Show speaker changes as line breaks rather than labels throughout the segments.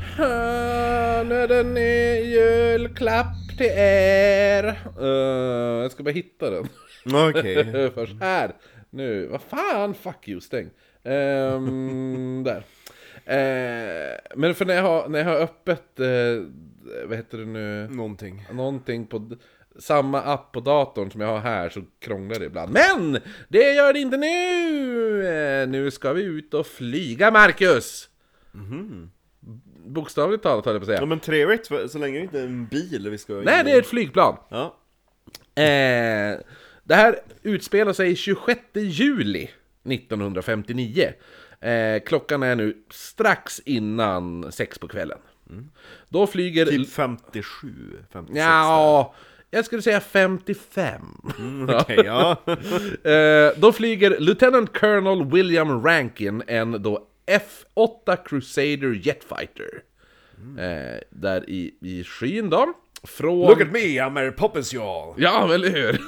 Här är den är julklapp till er. Eh, jag ska bara hitta den.
Okej.
Först här. Nu, vad fan, fuck you, stäng. Ehm, där. Eh, men för när jag har, när jag har öppet, eh, vad heter det nu?
Någonting.
någonting på d- samma app på datorn som jag har här så krånglar det ibland. Men! Det gör det inte nu! Eh, Nu ska vi ut och flyga, Marcus! B- Bokstavligt talat höll jag på att säga.
Mhm. Ja men trevligt, för- så länge det inte är en bil vi ska
Nej,
in i.
det är ett flygplan!
Ja.
Eh, det här utspelar sig 26 juli 1959. Eh, klockan är nu strax innan sex på kvällen. Då flyger...
Mm. Typ 57, 56.
Ja, jag skulle säga 55.
Okej, ja.
Eh, då flyger Lieutenant Colonel William Rankin en då F8 Crusader Jetfighter. Eh, där i, i skyn då. Från...
Look at me, I'm Mary Poppins y'all.
Ja, eller hur?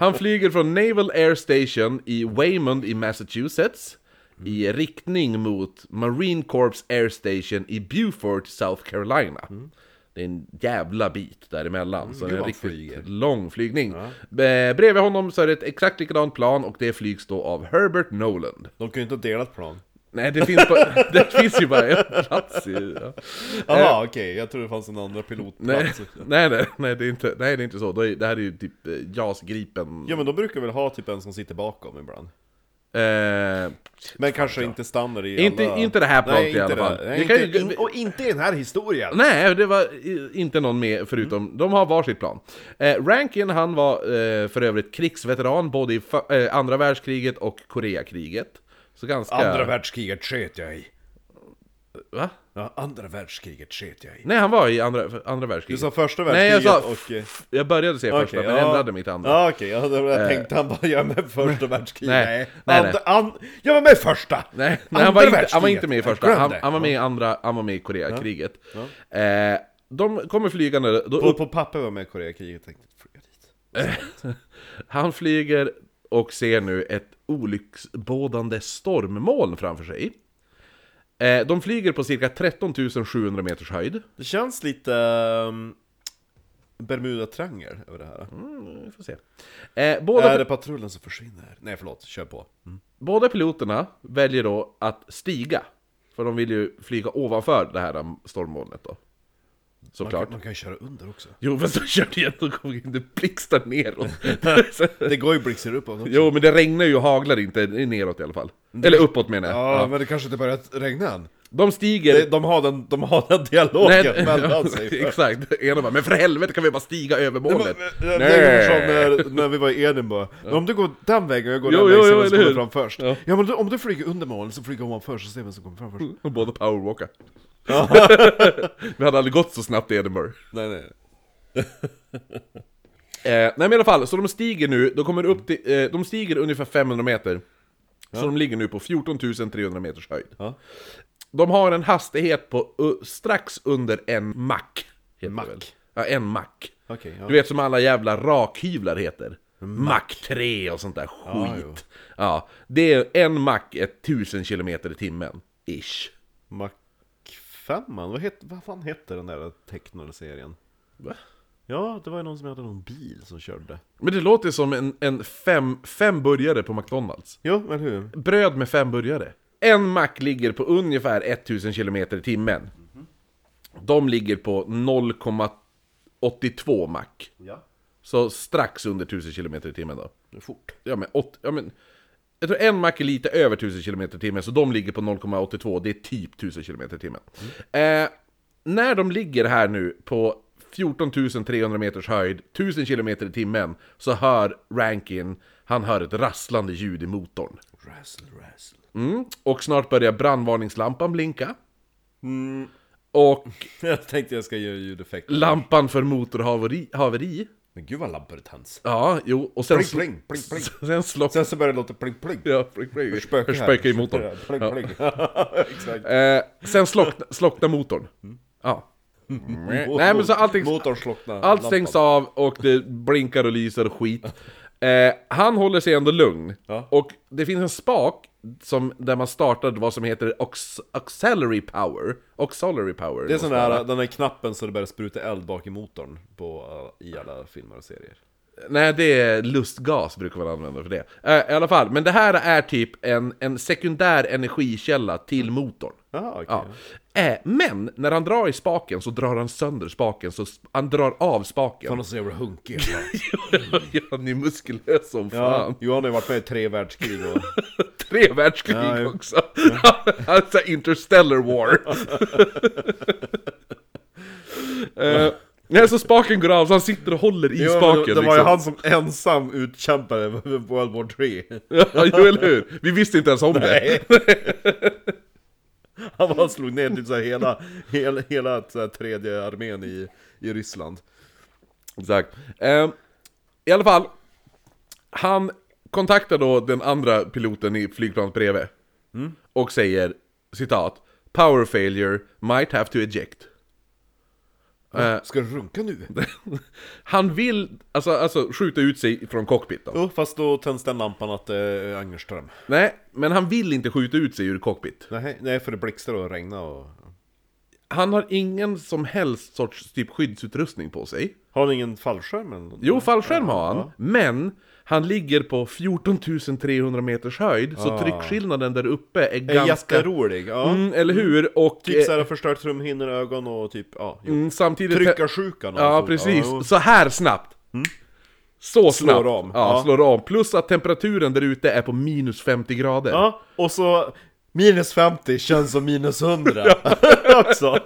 Han flyger från Naval Air Station i Waymond i Massachusetts i riktning mot Marine Corps Air Station i Beaufort, South Carolina. Det är en jävla bit däremellan, så Mm. det är en
vad
riktigt
flyger.
lång flygning. Eh, Bredvid honom så är det ett exakt likadant plan och det flygs då av Herbert Noland.
De kan ju inte ha delat plan.
Nej, det finns, bara, det finns ju bara en plats i... Ja.
Jaha, okej, jag tror det fanns en andra
Eh. Nej,
pilotplats. också.
nej, nej, nej, det är inte, nej, det är inte så. Då är- Det här är ju typ eh, JAS Gripen.
Ja men de brukar väl ha typ en som sitter bakom ibland.
Eh,
Men kanske inte standard i
Inte-
alla...
inte det här planet
Nej,
i
inte
alla fall.
det.
Det
Nej,
kan
inte,
ju-
in, och inte i den här historien!
nej, det var i- inte någon med förutom,
Mm.
de har varsitt plan. Eh, Rankin, han var eh, för övrigt krigsveteran både i fa- eh, andra världskriget och Koreakriget. Så ganska...
Andra världskriget sket jag i.
Va?
Ja, andra världskriget sket jag i.
Nej, han var i andra, andra
Du
världskriget.
sa första
nej, jag
världskriget
sa...
och... eh,
f- Jag började säga
Okej,
första, men ändrade mitt andra. Eh.
Ja, okej, ja, då- jag tänkte han bara, jag är med i första världskriget.
Nej, nej, nej.
And, an, jag var med i första!
Nej, nej
Andra
han, var inte, han var
världskriget.
inte med i första,
Glöm
han,
det.
han var med i andra, han var med i Koreakriget. Eh, de kommer flygande, då
På, på papper var jag med i Koreakriget, tänkte flyga dit.
Han flyger och ser nu ett olycksbådande stormmoln framför sig. Eh, De flyger på cirka 13 700 meters höjd.
Det känns lite... Um, Bermuda-triangel över det här.
Mm, vi får se. Eh,
Är
Båda,
det patrullen som försvinner? Nej, förlåt, kör på.
båda piloterna väljer då att stiga. För de vill ju flyga ovanför det här stormmolnet då.
Man,
Såklart.
kan- man kan ju köra under också.
Jo, men så kör det igen, då kommer det inte blixtar neråt.
Det går ju blixtar uppåt också.
jo, men det regnar ju och haglar inte neråt i alla fall. Eller uppåt menar jag.
Ja, men det kanske inte börjat regna än.
De stiger...
De, de, har, den, de har den dialogen mellan sig.
Exakt, ena bara, men för helvete kan vi bara stiga över målet?
Det var- det- Det är ungefär som eh, när, när vi var i Edinburgh. Men Om du går den vägen och jag går
Jo,
den
jo,
vägen
jo,
som
eller
kommer
hur?
fram först.
Ja. Mm.
Ja, men du, om du flyger under moln så flyger man först och ser vem som kommer fram först.
Och båda powerwalkar. vi hade aldrig gått så snabbt i Edinburgh.
Nej, nej.
Eh, nej men i alla fall, så de stiger nu, de kommer upp till, eh, de stiger ungefär 500 meter. Så de ligger nu på 14 300 meters höjd.
Ja.
De har en hastighet på uh, strax under en mack. heter det
Mack.
väl. Ja, en mack.
Okej, ja.
Du vet som alla jävla rakhyvlar heter. Mac 3 och sånt där skit.
jo.
Ja, det är en Mac 1000 km i timmen. Ish.
Mac 5 vad, het, vad fan heter den där Technol-serien?
Va?
Ja, det var ju någon som hade någon bil som körde.
Men det låter som en, en fem, fem burgare på McDonalds.
Jo, men hur?
Bröd med fem burgare. En Mac ligger på ungefär 1000 km i timmen. De ligger på 0,82 Mac.
Ja.
Så strax under 1000 km i timmen då.
Det är fort.
Ja men, åt, ja, men jag tror en mack är lite över 1000 km i timmen, så de ligger på 0,82, det är typ 1000 km i timmen. Eh, när de ligger här nu på 14 300 meters höjd, 1000 km i timmen, så hör Rankin, han hör ett rasslande ljud i motorn.
Razzle, razzle.
Mm. Och snart börjar brandvarningslampan blinka. Och
Jag tänkte jag ska göra ljudeffekter.
lampan för motorhaveri haveri,
Men gud vad lampor det tänds.
Ja, jo, och sen...
Pling,
sl-
pling, pling, pling.
Sen slocknar...
Sen så börjar det låta pling pling.
Ja, pling, pling.
Hur spökar
Hur
här?
spökar i motorn.
Ja, Pling pling. Exakt.
Eh, sen slockna,
Mm.
slockna motorn. Ja. Nej men så allting...
Motorn slocknar.
Allt stängs
lampan.
av och det blinkar och lyser och skit. Eh, han håller sig ändå lugn.
Ja.
Och det finns en spak som, där man startade vad som heter aux- auxiliary power. Auxiliary power.
Det är sån där, den där knappen så det börjar spruta eld bak i motorn på, eh, i alla filmer och serier.
Nej, det är lustgas brukar man använda för det. Eh, I alla fall, men det här är typ en, en sekundär energikälla
Mm.
till motorn.
Jaha, okej.
Ja. Eh, men när han drar i spaken så drar han sönder spaken, så sp- han drar av spaken.
Fan vad så jävla hunkig
ja, han är muskulös som fan.
Ja, Johan har ju varit med i tre världskrig och...
Tre världskrig
Ja, jo.
också! alltså interstellar war! eh, nej, så spaken går av, så han sitter och håller i
Jo, men
spaken
det, det var ju
liksom.
han som ensam utkämpade World War 3
Ja, jo, eller hur? Vi visste inte ens om det.
Han bara slog ner typ så här hela, hela, hela så här tredje armén i, i Ryssland
Exakt. Ehm, I alla fall, han kontaktar då den andra piloten i flygplanet bredvid. Och säger, citat, Power failure, might have to eject.
Ska du runka nu?
Ehm, Han vill, alltså, alltså skjuta ut sig från cockpiten.
Jo, fast då tänds den lampan att det är Angerström
Nej, men han vill inte skjuta ut sig ur cockpit.
nej, nej, för det blixtrar och regnar och...
Han har ingen som helst sorts typ skyddsutrustning på sig.
Har han ingen fallskärm eller något?
Jo, fallskärm har han, men han ligger på 14 300 meters höjd, så tryckskillnaden där uppe är
Är
ganska...
jätterolig, ja
Mm, eller hur? Och
Typ
eh,
såhär förstört trumhinnor, ögon och typ, ja jo.
mm, samtidigt...
Tryckarsjukan och
Ja,
sånt.
precis.
jo.
Så här snabbt! Så snabbt!
om.
Ja,
Ja.
slår om. Plus att temperaturen där ute är på minus 50 grader.
Ja, och så minus 50 känns som minus 100 också.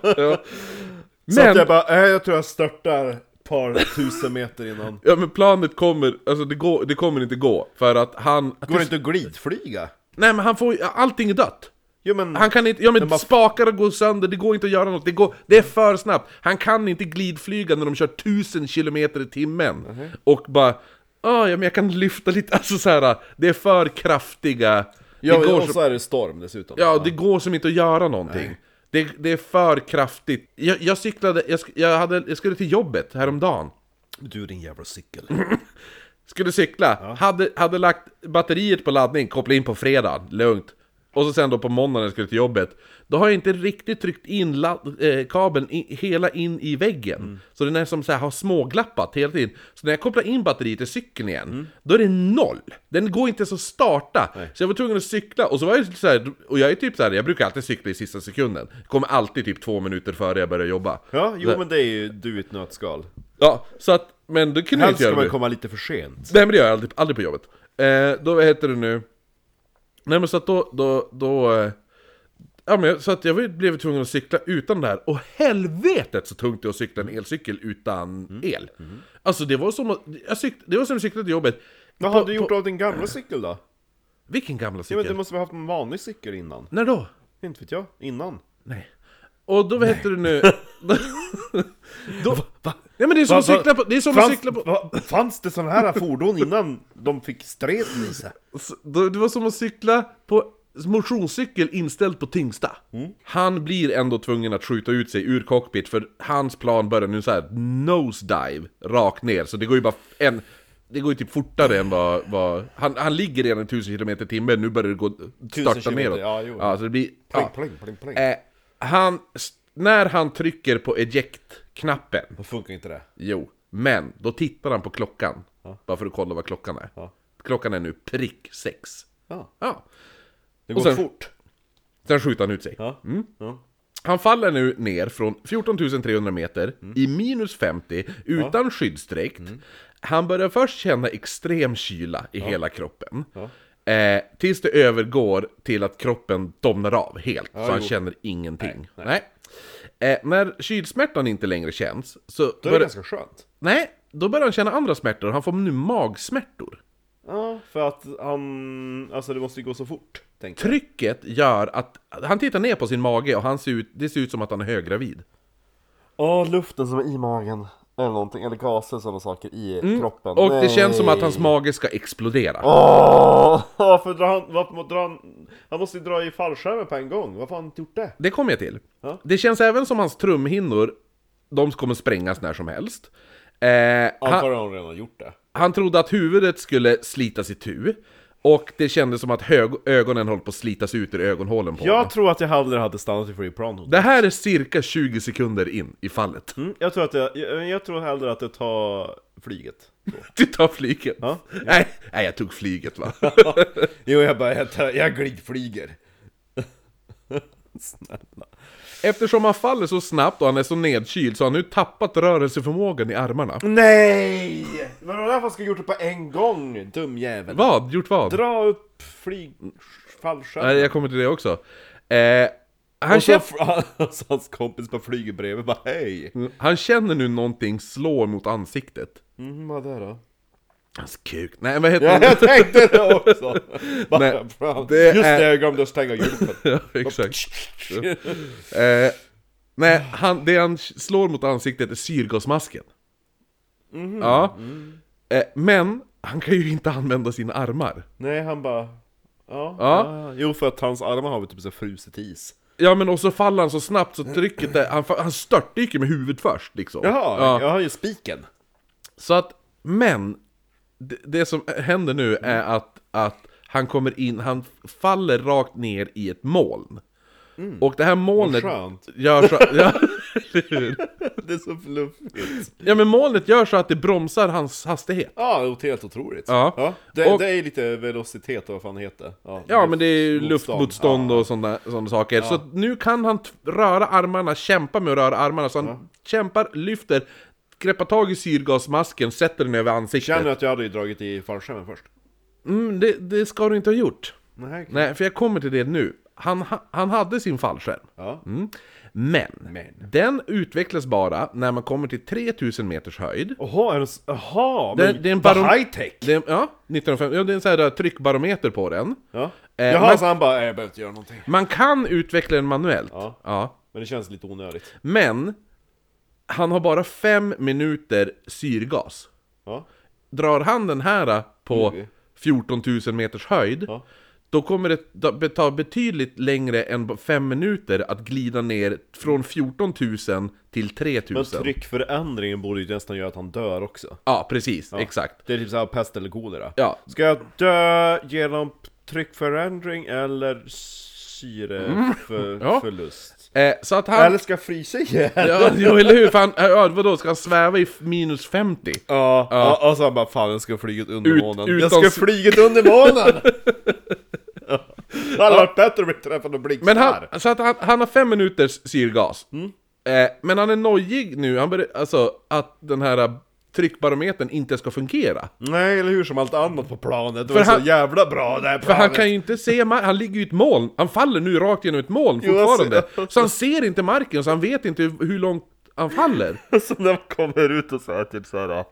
Så att
Men-
jag bara, äh, jag tror jag störtar ett par tusen meter innan.
Ja men planet kommer, alltså det, går, det kommer inte gå, för att han...
Går det inte att glidflyga?
Nej men han får allting är dött!
Jo men,
Han kan inte, ja men
bara-
spakar och går sönder, det går inte att göra något, det, går, det är för snabbt! Han kan inte glidflyga när de kör 1000 km i timmen! Och bara, "Ah, ja men jag kan lyfta lite, alltså så här, det är för kraftiga...
ja,
det går
och
som,
så är det storm dessutom.
ja, det går som inte att göra någonting. Det, det är för kraftigt. Jag, jag cyklade, jag, sk- jag, hade, jag skulle till jobbet häromdagen.
Du din jävla cykel.
Mm. Skulle cykla, hade, hade lagt batteriet på laddning, koppla in på fredag, lugnt. Och så sen då på måndagen när jag skulle till jobbet, då har jag inte riktigt tryckt in ladd, eh, kabeln i, hela in i väggen.
Mm.
Så den är som så här, har småglappat hela tiden. Så när jag kopplar in batteriet i cykeln igen,
Mm.
då är det noll! Den går inte ens att starta. Så jag var tvungen att cykla, och så var jag så här, och jag är typ så här, jag brukar alltid cykla i sista sekunden. Kommer alltid typ två minuter före jag börjar jobba.
Ja,
Så-
jo men det är ju du i ett nötskal.
Ja, så att, men det kunde jag
Helst
inte göra
ska man
nu.
komma lite för sent.
Nej men det gör jag aldrig, aldrig på jobbet. Eh, då, vad heter det nu? Nej men så att då, då, då... Eh, ja men jag- så att jag var- blev tvungen att cykla utan det här. Och helvetet så tungt det är att cykla en elcykel utan
Mm.
el. Alltså det var som att, jag cyk, det var som att cykla till jobbet.
Vad har du gjort av din gamla cykel då?
Vilken gamla
Ja, men du
cykel?
måste ha haft en vanlig cykel innan?
När då?
Inte vet jag, innan?
Nej. Och då, vad heter det nu? då, Nej men det är som
Va-
att
va-
cykla på, det är som att
Fanns,
cykla på...
va- fanns det sådana här fordon innan de fick streten i sig?
Så- då- Det var som att cykla på motionscykel inställd på tyngsta.
Mm.
Han blir ändå tvungen att skjuta ut sig ur cockpit för hans plan börjar nu så här nosedive rakt ner. Så det går ju bara en... Det går ju typ fortare än vad... vad han, han ligger redan 1000 km i timmen, nu börjar det gå... Starta
kilometer,
neråt.
ja, jo.
så det blir...
Pling,
ja.
pling, pling, pling.
Eh, han... s- När han trycker på eject-knappen
Då funkar inte det.
Jo, men då tittar han på klockan. Bara för att kolla vad klockan är. Klockan är nu prick sex.
Ja.
Ja.
Det
Och
går
sen-
fort. Mm.
Sen skjuter han ut sig.
Ja. Ja.
Han faller nu ner från 14 300 meter
Mm.
i minus 50 utan skyddsdräkt. Han börjar först känna extrem kyla i hela kroppen. Eh, tills det övergår till att kroppen domnar av helt, så han
jo.
känner ingenting. Nej. Eh, när kylsmärtan inte längre känns, så
Då är det
börjar-
ganska skönt.
Nej, då börjar han känna andra smärtor. Han får nu magsmärtor.
Ja, för att han... Alltså det måste ju gå så fort, tänker jag.
Trycket gör att han tittar ner på sin mage och han ser ut, det ser ut som att han är höggravid.
Ja, luften som är i magen. Eller någonting, eller gaser sådana saker i kroppen.
Mm. Och det känns som att
Nej.
hans mage ska explodera.
Åh! Varför drar han... Varför drar han... Han måste ju dra i fallskärmen på en gång. Varför har han inte gjort det?
Det kommer jag till.
Ja.
Det känns även som hans trumhinnor, de kommer sprängas när som helst. Eh, han,
Antagligen har han redan gjort det.
han trodde att huvudet skulle slitas i tu och det kändes som att hög, ögonen höll på att slitas ut ur ögonhålen på honom.
Jag tror att jag hellre hade stannat i Free Pronto.
Det här är cirka 20 sekunder in i fallet.
Mm, jag, tror att jag, jag, jag tror hellre att jag tar flyget.
Du tar flyget.
Ja.
Nej, nej, jag tog flyget va.
Jo, jag bara, jag, tar, jag glidflyger. Snälla.
Eftersom han faller så snabbt och han är så nedkyld så har han nu tappat rörelseförmågan i armarna.
Nej! Men det var därför jag skulle gjort det på en gång, dum jävel.
Vad? Gjort vad?
Dra upp flyg...
Nej,
fallskärmen.
jag kommer till det också. Eh, han,
Och så,
känner,
och så hans kompis bara flyger bredvid bara hej.
han känner nu någonting slå mot ansiktet.
Mm, vad är det då?
Hans kuk. Nej, vad heter
Ja,
det?
jag tänkte det också! Bara,
Nej,
fan.
det
Just
är-
det, jag glömde att stänga hjulet.
Ja, exakt. Eh, nej, han, det han slår mot ansiktet är syrgasmasken.
Mhm.
Ja.
Mm.
Eh, men han kan ju inte använda sina armar.
Nej, han bara... Ja,
Ja.
ja. Jo, för att hans armar har väl typ så här frusit is.
Ja men och så faller han så snabbt så trycket där, han, fa- han störtdyker med huvudet först liksom.
Jaha,
Ja.
jag har ju spiken.
Så att, men det, det som händer nu är
Mm.
att, att han kommer in, han faller rakt ner i ett moln. Och det här molnet...
Mm. Vad skönt.
Gör så, ja, eller hur?
Det är så fluffigt.
ja men molnet gör så att det bromsar hans hastighet.
Ja, det är helt otroligt.
Ja.
Det,
Och-
det är lite velocitet och vad fan det heter. Ja,
Ja men det är ju
Luftmotstånd.
luftmotstånd och sådana, sådana saker. Så att nu kan han t- röra armarna, kämpa med att röra armarna. Så han kämpar, lyfter, greppar tag i syrgasmasken, sätter den över ansiktet.
Känner att jag hade ju dragit i fallskärmen först.
Mm, det, det ska du inte ha gjort.
Nej.
Nej, för jag kommer till det nu. Han, ha- han hade sin fallskärm.
Ja.
Mm. Men,
Men.
den utvecklas bara när man kommer till 3000 meters höjd.
Jaha, är det... s- Jaha,
Det-
men
det är en
vad
baron-
high tech!
Det, är- ja, 1950, ja, det är en sån här tryckbarometer på den.
Ja.
Eh,
Jaha,
men-
så han bara, "Nej, jag behöver inte göra någonting.
Man kan utveckla den manuellt.
Ja.
ja.
Men det känns lite onödigt.
Men, han har bara fem minuter syrgas.
Ja.
Drar han den här äh, på
Mm.
14 000 meters höjd,
Ja.
då kommer det ta- ta betydligt längre än b- fem minuter att glida ner från 14 000 till 3 000.
Men tryckförändringen borde ju nästan göra att han dör också.
Ja, precis. Exakt.
Det är typ såhär pest eller kolera.
Ja.
Ska jag dö genom tryckförändring eller syreförlust?
Mm. Ja.
förlust?
Eh, så att han...
Eller ska jag frysa ihjäl?
Ja, jo, eller hur? Fan, eh, ja, vadå, ska han sväva i f- minus 50?
Ja, ja, och så han bara 'Fan jag ska flyga under
Ut-
månen'
utan-
Jag ska flyga under månen! Ja. Det hade varit bättre om jag träffade en blixtar!
Men han, så att han, han har fem minuters syrgas.
Mm.
Eh, men han är nojig nu, han börjar, alltså att den här tryckbarometern inte ska fungera.
Nej, eller hur? Som allt annat på planet, det var
För han-
så jävla bra det här
För
planet!
han kan ju inte se marken, han ligger ju i ett moln, han faller nu rakt genom ett moln
Jo, jag ser-
fortfarande. Så han ser inte marken, så han vet inte hur hur långt han faller.
Så när man kommer ut och så är typ såhär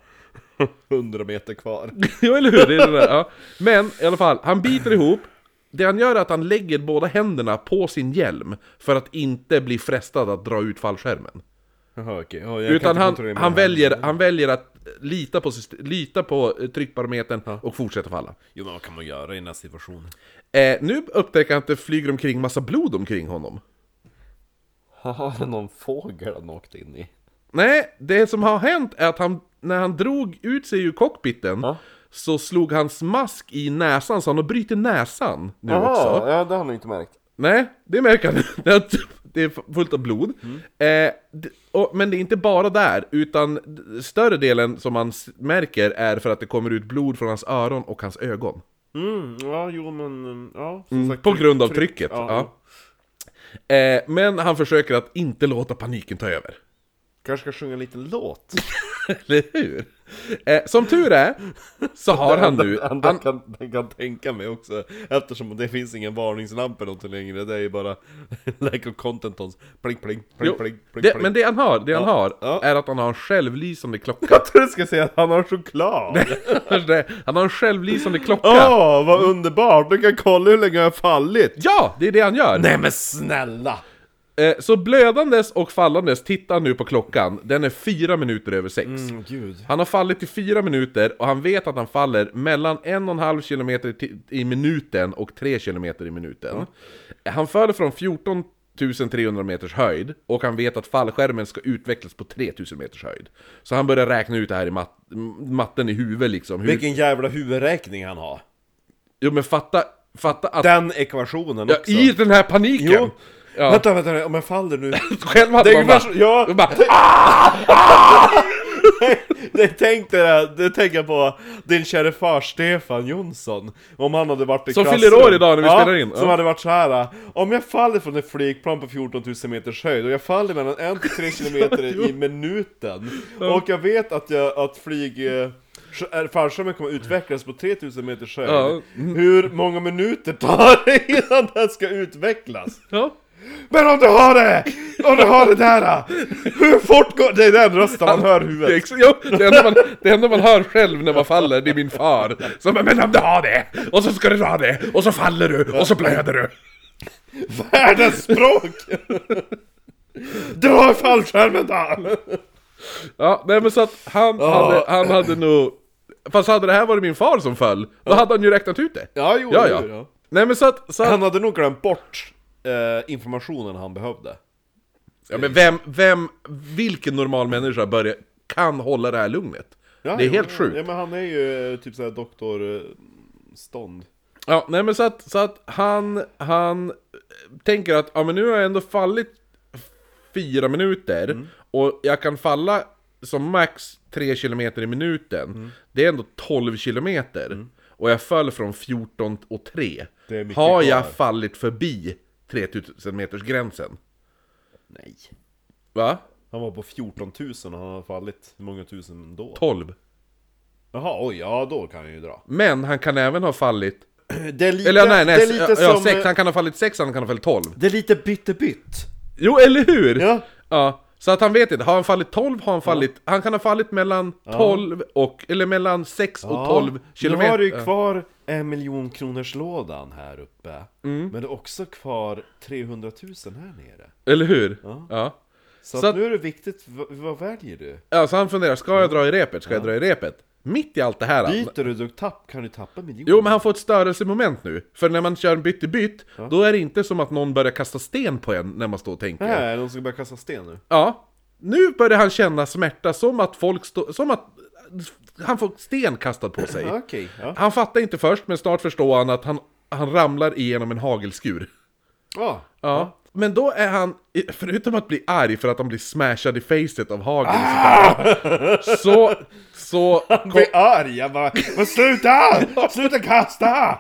100 meter kvar
jo, eller hur? Det är det där, ja. Men i alla fall, han biter ihop. Det han gör är att han lägger båda händerna på sin hjälm för att inte bli frestad att dra ut fallskärmen.
Jaha okej, Ja, jag kan
Utan
inte
han, han,
kontrollera mina händer.
väljer, han väljer att lita på, syst- lita på eh, tryckbarometern och fortsätta falla.
Jo men vad kan man göra i den här situationen?
Eh, nu upptäcker han att det flyger omkring massa blod omkring honom.
Har det någon fågel han åkt in i?
Nej, det som har hänt är att han, när han drog ut sig ur cockpiten
Ja.
så slog hans mask i näsan så han har brutit näsan nu också.
Jaha, ja det har han inte märkt
Nej, det märker han. Det är- Det är fullt av blod.
Mm.
Eh, d- och, men det är inte bara där, utan d- större delen som man s- märker är för att det kommer ut blod från hans öron och hans ögon.
Mm, ja jo men, mm, ja som sagt,
På
tryck-
grund av
tryck-
trycket.
ja.
Ja. Eh, men han försöker att inte låta paniken ta över.
Kanske ska sjunga en liten låt?
Eller hur? Eh, som tur är, så har han nu...
Den
Han,
kan, den kan tänka mig också Eftersom det finns ingen varningslampa eller något längre Det är ju bara Like of Contentons Pling pling, pling
jo,
pling, pling,
det,
pling.
men det han har, det han har,
Ja.
är att han har en självlysande klocka. Alltså,
Jag trodde du skulle säga att han har choklad!
han har en självlysande klocka.
Åh, vad underbart! Du kan kolla hur länge jag har fallit!
Ja, det är det han gör!
Nej men snälla!
Eh, Så blödandes och fallandes tittar han nu på klockan, den är fyra minuter över sex.
Mm, gud.
Han har fallit i fyra minuter och han vet att han faller mellan en och en halv kilometer ti- i minuten och tre kilometer i minuten. Han faller från 14 300 meters höjd och han vet att fallskärmen ska utvecklas på 3000 meters höjd. Så han börjar räkna ut det här i mat matten i huvudet liksom. Hur...
Vilken jävla huvudräkning han har.
Jo men fatta, fatta att...
Den ekvationen
Ja,
också.
I den här paniken!
Jo.
Ja.
Vänta, vänta, om jag faller nu.
Själv
Det
hade
är
man
ju
bara...
värst- ja.
man bara
det tänkte jag, det tänker jag på din käre far Stefan Jonsson. Om han hade varit i
Som
klassrum.
fyller år idag när vi
ja,
spelar in.
Som
Ja.
hade varit så här. Om jag faller från ett flygplan på 14 000 meters höjd och jag faller mellan 1 till 3 kilometer i minuten. Och jag vet att, jag, att flyg... eh, sk- eh, Fallskärmen kommer utvecklas på 3000 meters höjd. Mm.
Ja.
Hur många minuter tar det innan den ska utvecklas?
Ja.
Men om du har det! Om du har det där! Hur fort går... Det är den rösten man hör i huvudet.
Det, är ex- jo, det, enda man, det enda man hör själv när man faller, det är min far. Som bara, men om du har det, och så ska du dra det, och så faller du, och så blöder du.
Världens språk! Dra i fallskärmen då!
Ja, nej men så att han, hade, han hade nog... Fast hade det här varit min far som föll, då hade han ju räknat ut det.
Ja, jo,
ja.
jo,
ja.
ja.
Nej men så att... Så att
Han hade nog glömt bort eh, informationen han behövde.
ja, men vem, vem, vilken normal människa börjar, kan hålla det här lugnet?
Ja,
det är
jo,
helt
ja.
sjukt.
Ja, men han är ju eh, typ såhär doktor... Eh, stånd.
Ja, nej men så att, så att han, han eh, tänker att ja, men nu har jag ändå fallit fyra minuter
Mm.
och jag kan falla som max 3 km i minuten.
Mm.
Det är ändå 12 km. Och jag föll från 14 och 3.
Det är mycket
Har jag
kvar.
fallit förbi 3000 meters gränsen?
Nej.
Va?
Han var på 14 000 och han har fallit hur många tusen då?
12.
Jaha, oj, ja då kan han ju dra.
Men han kan även ha fallit...
Det är lite,
Eller nej, nej,
det är lite
ja,
som...
sex,
eh,
han kan ha fallit 6, han kan ha fallit 12.
Det är lite byttebytt.
Jo, eller hur?
Ja.
Ja, så att han vet inte, har han fallit 12 har han fallit... Han kan ha fallit mellan 12 och... Eller mellan 6 och 12 kilometer.
Nu har du ju kvar en miljon kronors lådan här uppe.
Mm.
Men det är också kvar 300 000 här nere.
Eller hur? Ja. ja. Så
Så, att
att-
nu är det viktigt, vad, vad väljer du?
så han funderar, ska jag dra i repet? Ska jag dra i repet? Mitt i allt det här... han-
Byter du, då tapp, kan du tappa miljoner.
Jo, men han får ett störelsemoment nu. För när man kör en bytt i bytt, då är det inte som att någon börjar kasta sten på en när man står och tänker.
Här är någon som börjar kasta sten nu.
Ja. Nu börjar han känna smärta som att folk står... Som att... Han får sten kastad på sig.
Ja, Okej, ja.
Han fattar inte först, men snart förstår han att han, han ramlar igenom en hagelskur.
Ah,
Ja. Men då är han, i- förutom att bli arg för att han blir smashad i facet av hagel och
Ah!
sådär, så, så,
jag blir arg, jag bara Men sluta! Sluta kasta!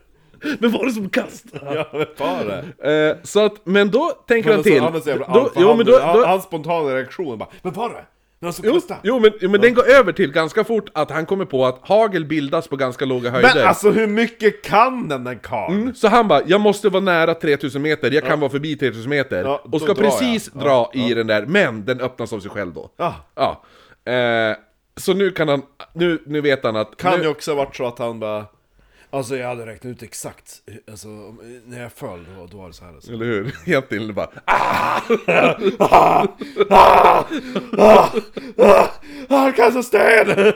Men var det som kastade?
Ja, men ta det!
Eh, så att, men då tänker han
Men alltså,
till...
Han är så jävla
då, jo, men då,
han,
då,
Hans spontana reaktion är bara Men var det? Någon som
jo,
kastade?
jo, men, jo, men den går över till ganska fort att han kommer på att hagel bildas på ganska låga höjder.
Men alltså hur mycket kan den där karln?
Så han bara, jag måste vara nära 3000 meter, jag kan vara förbi 3000 meter
Ja, då
Och ska
drar jag.
precis dra i den där, men den öppnas av sig själv då
Ja.
Eh, Så nu kan han, nu, nu vet han att
Kan
nu,
ju också ha varit så att han bara Alltså jag hade räknat ut exakt, alltså om- när jag föll då, då var det så här alltså.
Eller hur? Egentligen bara ah,
Ah, Han kastar sten!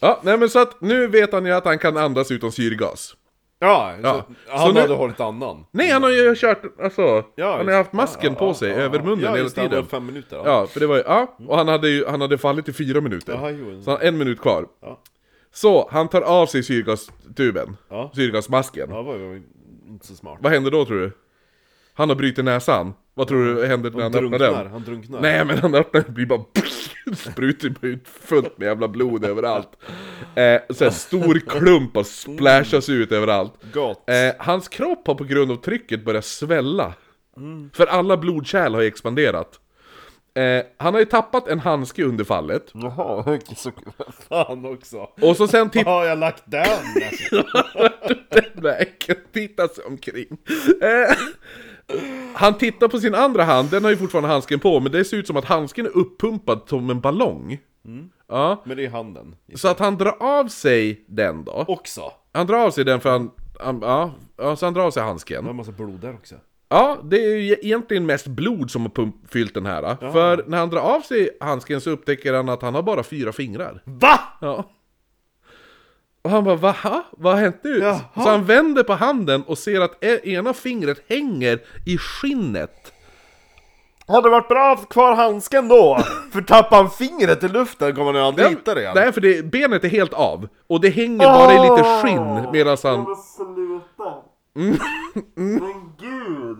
Ja, nej men så att nu vet han ju att han kan andas utan syrgas
Ja,
Ja.
Så, han
Så nu-
hade hållit andan.
Nej, han har ju kört, alltså,
Ja,
han har
just-
haft masken
ja,
på
ja,
sig
ja,
över
ja.
munnen
ja,
hela
just det, han
tiden
var fem minuter. Ja.
Ja, för det var ju, ja, och han hade ju, han hade fallit i fyra minuter
Ja, jo, jo.
Så han, en minut kvar
Ja.
Så, han tar av sig syrgastuben,
Ja.
syrgasmasken
Ja, det var ju inte så smart.
Vad händer då tror du? Han har brutit näsan. Vad tror du händer när han öppnar
drunknar,
den?
han drunknar.
Nej men han öppnar den blir bara sprutar ut fullt med jävla blod överallt. Eh, så här stor klump bara splashas ut överallt.
Gott.
Eh, hans kropp har på grund av trycket börjat svälla.
Mm.
För alla blodkärl har ju expanderat. Eh, han har ju tappat en handske under fallet.
Jaha, okej, så fan också.
Och så sen tittar
Har jag lagt den?
vägen, titta sig omkring. Eh, han tittar på sin andra hand, den har ju fortfarande handsken på, men det ser ut som att handsken är uppumpad som en ballong. Ja,
Men det är handen.
så att han drar av sig den då.
Också.
Han drar av sig den för han, han ja, ja, så han drar av sig
Det var
handsken.
en massa blod där också.
Ja, det är ju egentligen mest blod som har pump- fyllt den här. För när han drar av sig handsken så upptäcker han att han har bara fyra fingrar.
VA?
Ja. Och han bara va? Vad har hänt nu?
Jaha.
Så han vänder på handen och ser att e- ena fingret hänger i skinnet.
Hade det varit bra att ha kvar handsken då? För tappar han fingret i luften kommer han ju aldrig hitta det igen.
Nej, för det, benet är helt av. Och det hänger bara i lite
Åh!
skinn medan han... Mm.
Men sluta! Men gud!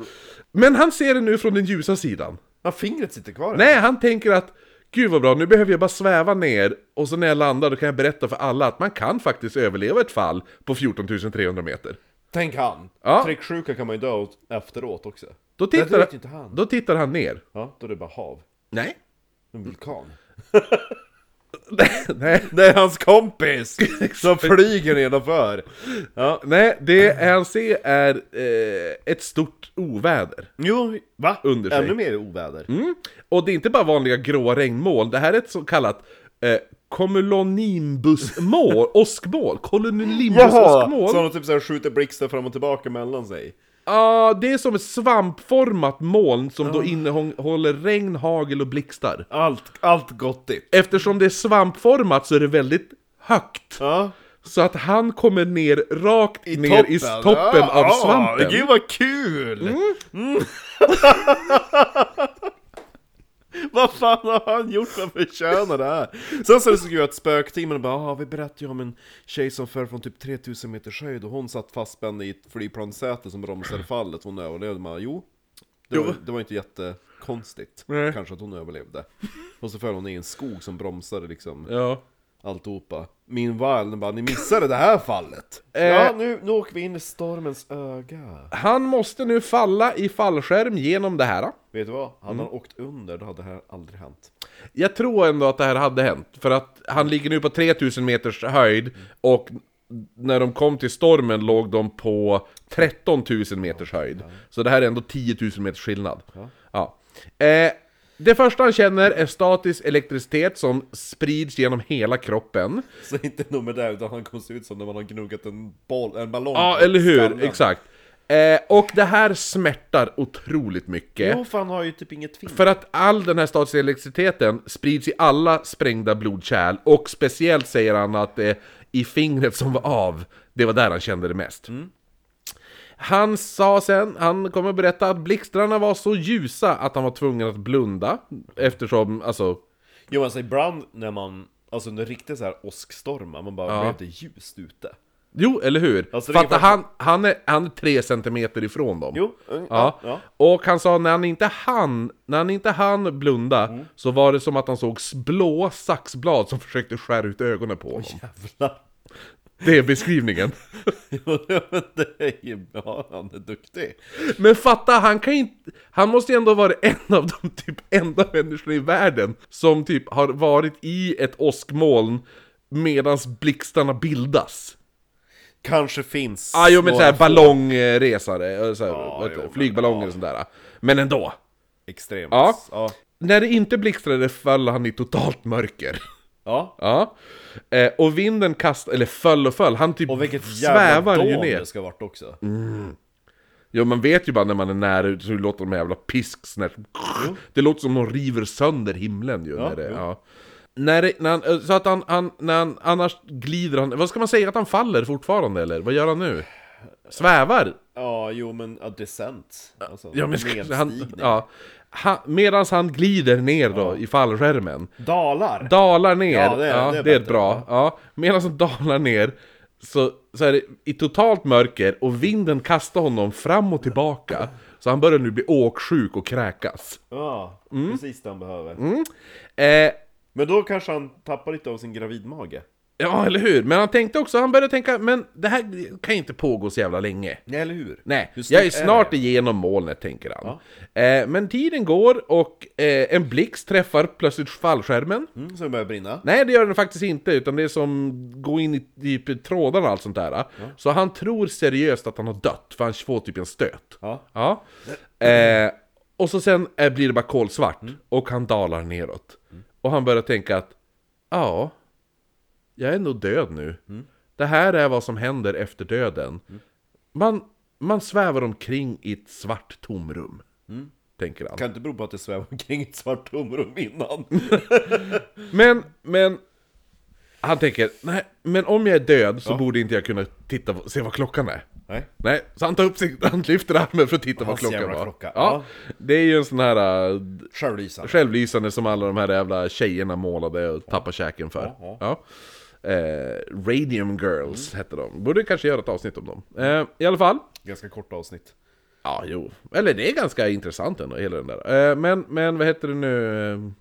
Men han ser det nu från den ljusa sidan.
Ja, fingret sitter kvar.
Nej, han tänker att Gud vad bra, nu behöver jag bara sväva ner och så när jag landar då kan jag berätta för alla att man kan faktiskt överleva ett fall på 14 300 meter.
Tänk han!
Ja.
Trycksjuka kan man ju dö åt efteråt också.
Då
det
tittar,
vet inte han.
då tittar han ner.
Ja, då är det bara hav.
Nej.
En vulkan.
Nej.
Det är hans kompis som flyger nedanför. Ja.
Nej, det han ser är eh, ett stort oväder.
Jo, va?
Under sig.
Ännu mer oväder.
Mm. Och det är inte bara vanliga gråa regnmoln, det här är ett så kallat eh, Komulonimbusmål, åskmål, kolonimbus-åskmål.
Så de typ såhär skjuter blixtar fram och tillbaka mellan sig.
Ja, det är som ett svampformat moln som då innehåller regn, hagel och blixtar.
Allt, allt gottigt.
Eftersom det är svampformat så är det väldigt högt.
Ja.
Så att han kommer ner rakt ner i s- toppen
Ja,
av
ja,
svampen.
Gud vad kul! Mm. vad fan har han gjort för att förtjäna det här? Sen så är det så kul att spöktimmen bara ah, vi berättade ju om en tjej som föll från typ 3000 meters höjd och hon satt fastspänd i ett flygplanssäte som bromsade fallet, hon överlevde man jo det var, det var inte jättekonstigt
Nej.
kanske att hon överlevde. Och så föll hon i en skog som bromsade liksom
Ja.
alltihopa. Min varld bara, ni missade det här fallet!
Ja,
nu, nu åker vi in i stormens öga.
Han måste nu falla i fallskärm genom det här.
Vet du vad? Han har åkt under, då hade det här aldrig hänt.
Jag tror ändå att det här hade hänt, för att han ligger nu på 3000 meters höjd och när de kom till stormen låg de på 13 000 meters höjd. Så det här är ändå 10 000 meters skillnad. Ja. Eh, det första han känner är statisk elektricitet som sprids genom hela kroppen.
Så inte nog med det, utan han kom se ut som när man har gnuggat en, boll, en ballong
Ja,
på
eller hur?
skallen.
Exakt. Eh, och det här smärtar otroligt mycket.
Jo, för han har ju typ inget fint.
För att all den här statiska elektriciteten sprids i alla sprängda blodkärl och speciellt säger han att det är i fingret som var av, det var där han kände det mest. Han sa sen, han kommer att berätta att blixtrarna var så ljusa att han var tvungen att blunda eftersom, alltså,
Jo, alltså ibland när man, alltså under riktigt så här åskstormar, man bara, blev det ljust ute?
jo eller hur?
Alltså, det är
För att
ungefär
han, han, är, han är tre centimeter ifrån dem.
Jo, mm,
Ja.
ja.
Och han sa när han inte hann, när han inte hann blunda så var det som att han såg s- blåa saxblad som försökte skära ut ögonen på honom.
Jävlar.
Det är beskrivningen.
Jo, men det är ju bra, han är duktig.
Men fatta, han kan ju inte... Han måste ju ändå vara en av de typ enda människorna i världen som typ har varit i ett åskmoln medans blixtarna bildas.
Kanske finns
Ah, jo, men
några
såhär
få
ballongresare, eller såhär,
Ja,
eh, vad heter
jo,
det,
men-
flygballongen och sånt där. Men ändå.
extremt.
Ja.
ja.
När det inte blixtrade föll han i totalt mörker.
Ja,
Ja. Eh, och vinden kastade, eller föll och föll, han typ
Och vilket jävla
svävar ju
dån
ner. Mm.
det ska ha varit också.
Jo man vet ju bara när man är nära ut så låter de här jävla pisk sån här, Det låter som de river sönder himlen ju när det,
jo.
ja. När det, när han, eh, så att han, han, när han, annars glider han, vad ska man säga att han faller fortfarande eller? Vad gör han nu? Svävar?
Ja, jo men ja, descent. Alltså,
Ja, men ska- han,
nedstigning.
ja. Han, medans han glider ner då i fallskärmen
Dalar!
Dalar ner, ja det
Ja,
är,
det är- det är bättre.
bra. Ja. Medan han dalar ner så, så är det i totalt mörker och vinden kastar honom fram och tillbaka. Så han börjar nu bli åksjuk och kräkas.
ja,
Mm.
precis det han behöver.
Eh,
Men då kanske han tappar lite av sin gravidmage.
ja, eller hur? Men han tänkte också, han började tänka, men det här kan ju inte pågå så jävla länge.
Nej, eller hur?
Nej,
Hur snyggt
jag är
är
snart igenom molnet, tänker han. Eh, men tiden går och eh, en blixt träffar plötsligt fallskärmen.
Mm, så det börjar brinna.
Nej det gör den faktiskt inte, utan det är som gå in i typ trådarna och allt sånt där. Så han tror seriöst att han har dött, för han får typ en stöt.
Ja.
Ja. Eh, och så sen eh, blir det bara kolsvart, och han dalar neråt. Och han börjar tänka att, ja, jag är nog död nu. Det här är vad som händer efter döden. Man Man svävar omkring i ett svart tomrum. Tänker han.
Kan inte bero på att det svävar omkring ett svart tomrum innan?
Men, men... Han tänker, nej, men om jag är död så borde inte jag kunna titta, på- se vad klockan är.
Nej.
Nej, så han tar upp sin, han lyfter armen för att titta vad
Hans
klockan
jävla
var.
klocka,
Ja, det är ju en sån här äh,
Självlysande.
självlysande som alla de här jävla tjejerna målade och tappade käken för.
ja.
Ja. Mm. Eh, Radium Girls hette de. Borde kanske göra ett avsnitt om dem. Eh, I alla fall.
Ganska korta avsnitt.
Ja, jo. Eller det är ganska intressant ändå, hela den där. Eh, men, men vad heter det nu?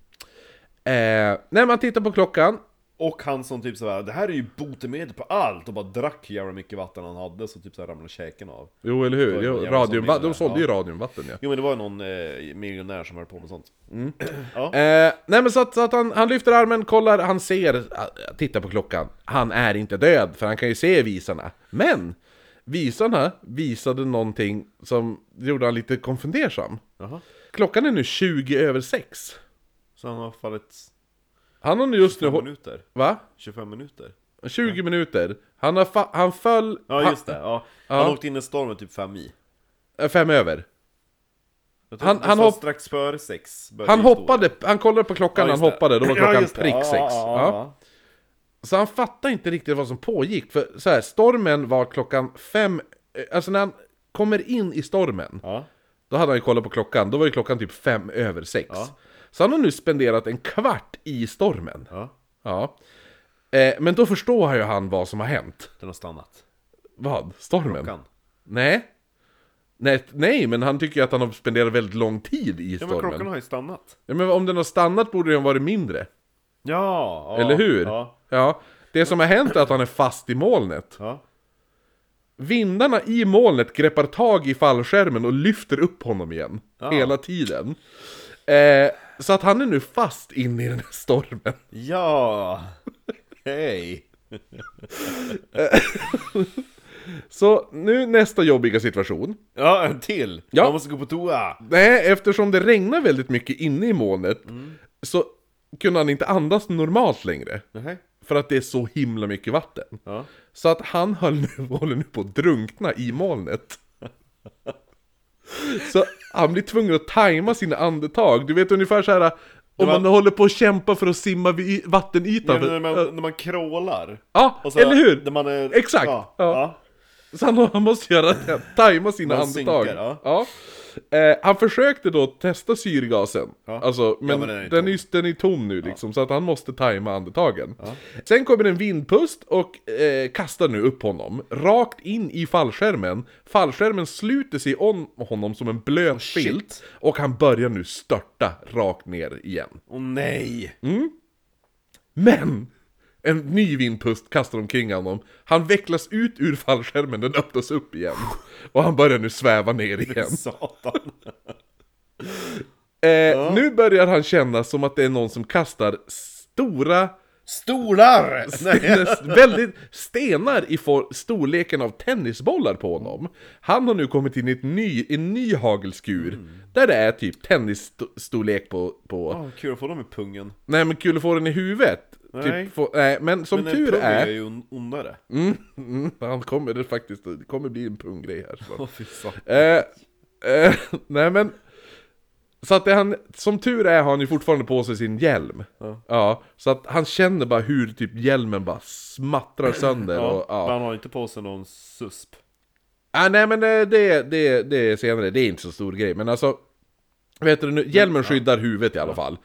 Eh, när man tittar på klockan.
Och han som typ såhär, det här är ju botemedel på allt! Och bara drack hur jävla mycket vatten han hade, så typ såhär ramlade käken av.
Jo, eller
Det
hur?
var ju
Jo,
en jävla
radiumva-
zombie
de
där,
sålde ju
ja.
radiumvatten, ja.
Jo men det var ju någon eh, miljonär som höll på med sånt.
Eh, nej men så att, så att han, han lyfter armen, kollar, han ser, ah, tittar på klockan. Han är inte död, för han kan ju se visarna. Men! Visarna visade någonting som gjorde han lite konfundersam.
Jaha.
Klockan är nu 20 över 6.
Så han har fallit
Han har nu just nu...
25
hå-
minuter.
Va?
25 minuter.
20 minuter. Han, har fa- han föll...
Ja just det, ja. Han
Ja.
åkte in i stormen typ 5 i.
Han, fem över.
Jag
Han-
han,
han
han
hopp-
strax före 6.
Han hoppade, han kollade på klockan, han hoppade, då var klockan
just det.
prick 6. Ja. Så han fattade inte riktigt vad som pågick, för så här, stormen var klockan fem, eh, alltså när han kommer in i stormen,
ja.
då hade han ju kollat på klockan, då var ju klockan typ fem över sex.
Ja.
Så han har nu spenderat en kvart i stormen.
ja.
Ja. Eh, men då förstår ju han vad som har hänt.
Den har stannat.
Vad? Stormen?
Kan.
Nej. Nej, nej, men han tycker ju att han har spenderat väldigt lång tid i
Ja men
stormen.
klockan har ju stannat.
Ja, men om den har stannat borde den ha varit mindre.
Ja! ja
Eller hur?
Ja.
ja. Det som har hänt är att han är fast i molnet.
ja.
Vindarna i molnet greppar tag i fallskärmen och lyfter upp honom igen. Hela tiden. Eh, så att han är nu fast inne i den här stormen.
Ja! Hej!
Så nu nästa jobbiga situation.
Ja, en till!
Ja.
Man måste gå på toa!
Nej, eftersom det regnar väldigt mycket inne i molnet så kunde han inte andas normalt längre.
Nej.
För att det är så himla mycket vatten.
Ja.
Så att han höll nu, håller nu på att drunkna i molnet. Så han blir tvungen att tajma sina andetag. Du vet ungefär så här om
var-
man håller på att kämpa för att simma vid y- vattenytan.
Men
För,
när man, när man crawlar.
ja,
Och så-
eller hur?
När man är,
Exakt,
Ja,
ja.
ja.
Så han, han måste göra det, tajma sina
Man
andetag.
synkar, ja.
Ja. Eh, han försökte då testa syrgasen,
Ja.
alltså, men,
men
den,
den är
är
ju
den, är, tom nu liksom, så att han måste tajma andetagen. Sen kommer en vindpust och eh, kastar nu upp honom, rakt in i fallskärmen. Fallskärmen sluter sig om honom som en blöt
Oh,
filt, och han börjar nu störta rakt ner igen.
Åh nej!
Men! En ny vindpust kastar omkring honom. Han vecklas ut ur fallskärmen, den öppnas upp igen. Och han börjar nu sväva ner igen.
Satan.
Eh, Nu börjar han känna som att det är någon som kastar stora,
Stolar! Nej.
väldigt stenar i for- storleken av tennisbollar på honom. Han har nu kommit in i ett ny, en ny hagelskur,
Mm.
där det är typ tennisstorlek på, på
Ah, kul att få dem i pungen.
Nej men kul att få den i huvudet.
Nej.
Typ, få, nej, men som
Men en
tur
pung
är...
är ju on- ondare.
Mm, han kommer det faktiskt, det kommer bli en punggrej här snart.
Åh, fy fan.
eh, eh, nej men... Så att det han, som tur är har han ju fortfarande på sig sin hjälm. Ja. så att han känner bara hur typ hjälmen bara smattrar sönder och
Ja, men
ja.
Han har inte på sig någon susp.
Ah, nej men eh, det, det, det är senare, det är inte så stor grej men alltså... Vet du nu, hjälmen skyddar huvudet i alla fall.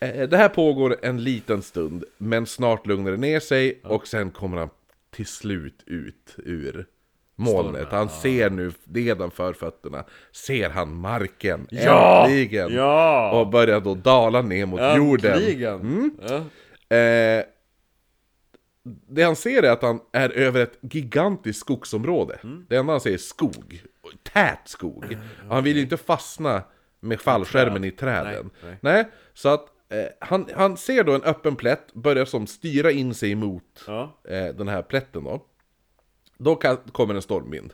Eh, det här pågår en liten stund, men snart lugnar det ner sig och sen kommer han till slut ut ur molnet. Han ser nu nedanför fötterna, ser han marken
Ja!
äntligen!
Ja!
Och börjar då dala ner mot jorden. Mm.
Äntligen! Ja.
Eh, det han ser är att han är över ett gigantiskt skogsområde.
Mm.
Det enda han ser är skog. Tät skog. Han vill ju inte fastna med fallskärmen i träden. Nej,
Nej,
så att eh, han, han ser då en öppen plätt, börjar som styra in sig mot
Ja.
eh, den här plätten då. Då kan, kommer en stormvind.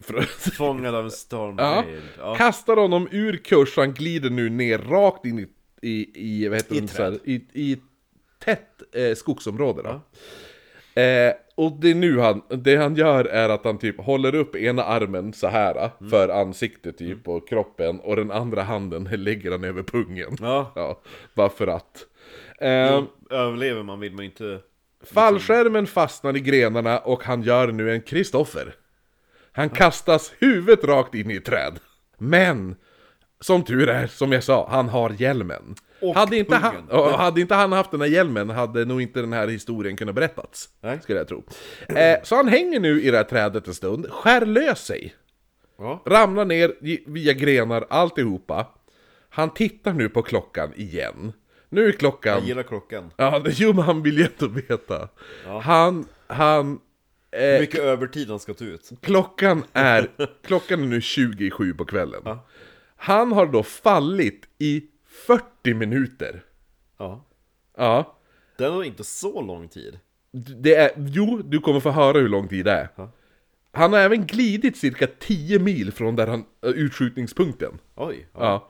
För-
Fångad av en
Ja.
stormvind. Ja.
Kastar honom ur kurs, han glider nu ner rakt in i, i, i vad heter
I
det,
träd.
så här, i, i tätt eh, skogsområde. Då. Eh, och det är nu han, det han gör är att han typ håller upp ena armen så här eh,
Mm.
för ansiktet typ och kroppen och den andra handen lägger han över pungen.
Ja.
Ja, bara för att. Ehm,
Överlever man vill man ju inte...
Liksom. Fallskärmen fastnar i grenarna och han gör nu en Kristoffer. Han kastas huvudet rakt in i ett träd. Men, som tur är, som jag sa, han har hjälmen.
Och
hade, inte han,
pungen.
och hade inte han haft den här hjälmen hade nog inte den här historien kunnat berättats.
Nej.
Skulle jag tro. Eh, så han hänger nu i det här trädet en stund, skär lös sig.
Ja.
Ramlar ner i- via grenar, alltihopa. Han tittar nu på klockan igen. Nu är klockan...
Gillar klockan.
Ja, det, jo men han vill ju ändå veta. Han, han,
Hur
eh,
mycket övertid han ska ta ut.
klockan är, klockan är nu 27 på kvällen. Han har då fallit i 40 minuter.
Ja.
Ja.
Den har inte så lång tid.
D- Det är, jo, du kommer få höra hur lång tid det är. Han har även glidit cirka 10 mil från där han, eh, utskjutningspunkten.
Oj. Ja.
Ja.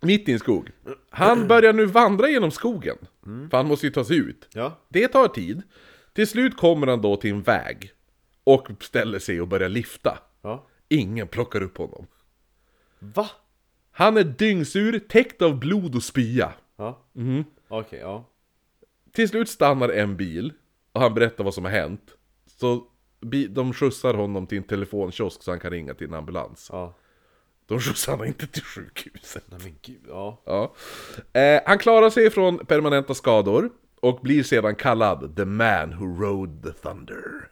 Mitt i en skog. Han börjar nu vandra genom skogen. För han måste ju ta sig ut.
ja.
Det tar tid. Till slut kommer han då till en väg och ställer sig och börjar lifta.
Ja.
Ingen plockar upp honom.
Va?
Han är dyngsur, täckt av blod och spya.
Ja.
Mm.
Okej, ja.
Till slut stannar en bil och han berättar vad som har hänt. Så bi- de skjutsar honom till en telefonkiosk så han kan ringa till en ambulans.
Ja.
De skjutsar honom inte till sjukhuset.
Nej men gud, ja.
Ja. Eh, han klarar sig från permanenta skador och blir sedan kallad The Man Who Rode The Thunder.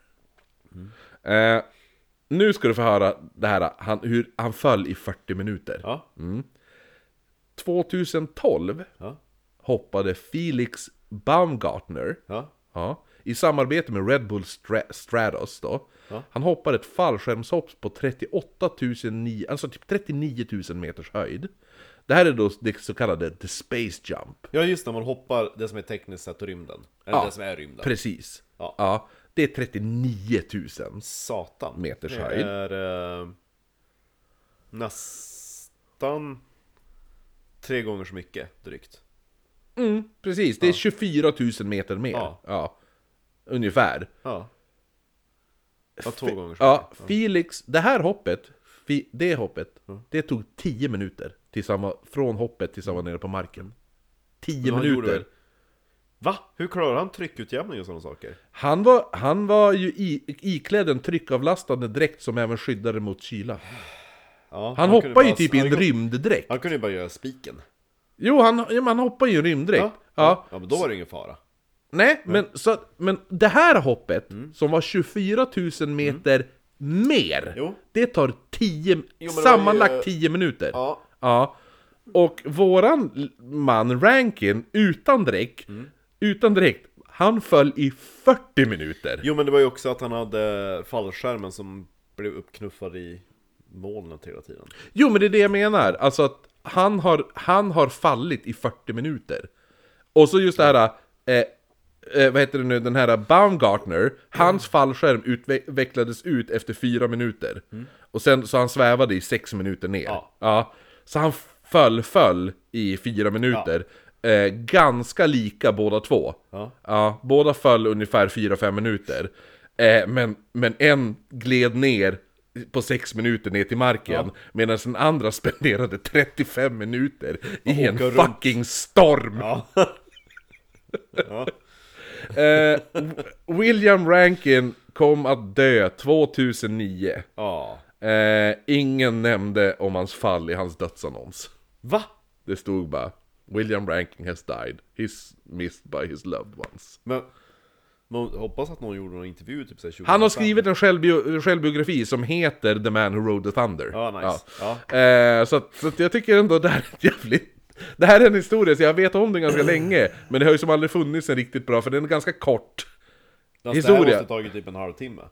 Eh, nu ska du få höra det här, han, hur han föll i 40 minuter.
Ja.
2012
Ja.
hoppade Felix Baumgartner
Ja.
ja, i samarbete med Red Bull Stra- Stratos då. Han hoppade ett fallskärmshopp på 38 009, alltså typ 39 000 meters höjd. Det här är då det så kallade the space jump.
Ja just när man hoppar det som är tekniskt sett och rymden. Eller
Ja.
det som är rymden.
Precis.
Ja.
det är 39 000.
Satan.
Meters
det
höjd.
är eh, nästan tre gånger så mycket drygt.
Precis, det är 24 000 meter mer.
Mm. Ja.
Ja. Ungefär.
Ja. Ja, två gånger så
Ja, Felix, det här hoppet, fi- det hoppet,
Mm.
det tog 10 minuter tills han var, från hoppet tills han var nere på marken. 10
Men han gjorde
minuter.
väl- Va? Hur klarar han tryckutjämning och sådana saker?
Han var, han var ju i, iklädd en tryckavlastande dräkt som även skyddade mot kyla.
Ja,
Han
kunde
hoppar ju
bara-
typ i en
han kunde-
rymddräkt.
Han kunde ju bara göra spiken.
Jo, han, ja, men han hoppar ju i en rymddräkt. Ja.
ja men då var det ingen fara.
Nej, men, så, att- men det här hoppet,
Mm.
som var 24 000 meter mer,
Jo.
det tar 10,
det var ju- eh,
sammanlagt 10 minuter.
Ja.
Ja. Och våran l- man Rankin, utan dräkt,
Mm.
utan dräkt, han föll i 40 minuter.
Jo men det var ju också att han hade fallskärmen som blev uppknuffad i molnet hela tiden.
Jo, men det är det jag menar. Alltså att han har, han har fallit i 40 minuter. Och så just det här, eh, eh, vad heter det nu, den här Baumgartner, hans fallskärm utvecklades ut efter 4 minuter. Och sen så han svävade i 6 minuter ner.
Ja.
Så han föll, föll i 4 minuter. Eh, ganska lika båda två.
Ja.
Ja, båda föll ungefär 4-5 minuter. Eh, men, men en gled ner på 6 minuter ner till marken, medan den andra spenderade 35 minuter i en
åka runt.
fucking storm!
Ja. ja.
Eh, W- William Rankin kom att dö 2009.
ja.
Eh, ingen nämnde om hans fall i hans dödsannons.
Va?
Det stod bara William Rankin has died, he's missed by his loved ones.
Men man hoppas att någon gjorde någon intervju typ såhär 2005.
Han har skrivit en självbio- självbiografi som heter The Man Who Rode the Thunder.
Ja, nice. Ja.
Eh, så att, så att jag tycker ändå det här är ett jävligt... Det här är en historia, så jag vet om den ganska länge. Men det har ju som aldrig funnits en riktigt bra, för den är ganska kort.
Alltså, det
historia.
här måste ha tagit typ en halvtimme.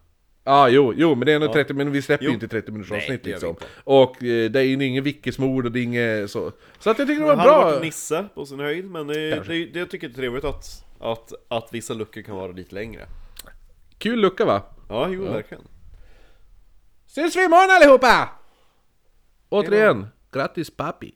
Ja, ah, jo, jo, men det är ändå 30 minuter, vi släpper ju
Jo.
inte 30 minuters
Nej,
avsnitt
det gör vi
liksom.
inte.
Och eh, det är ju inget vickesmord och det är inget så. Så att jag tycker det var
Han hade
bra.
varit Nisse på sin höjd, men det, det, det jag tycker jag är trevligt att, att, att vissa luckor kan vara lite längre.
Kul lucka va?
Ja, jo verkligen.
Syns vi imorgon allihopa! Återigen, grattis pappi.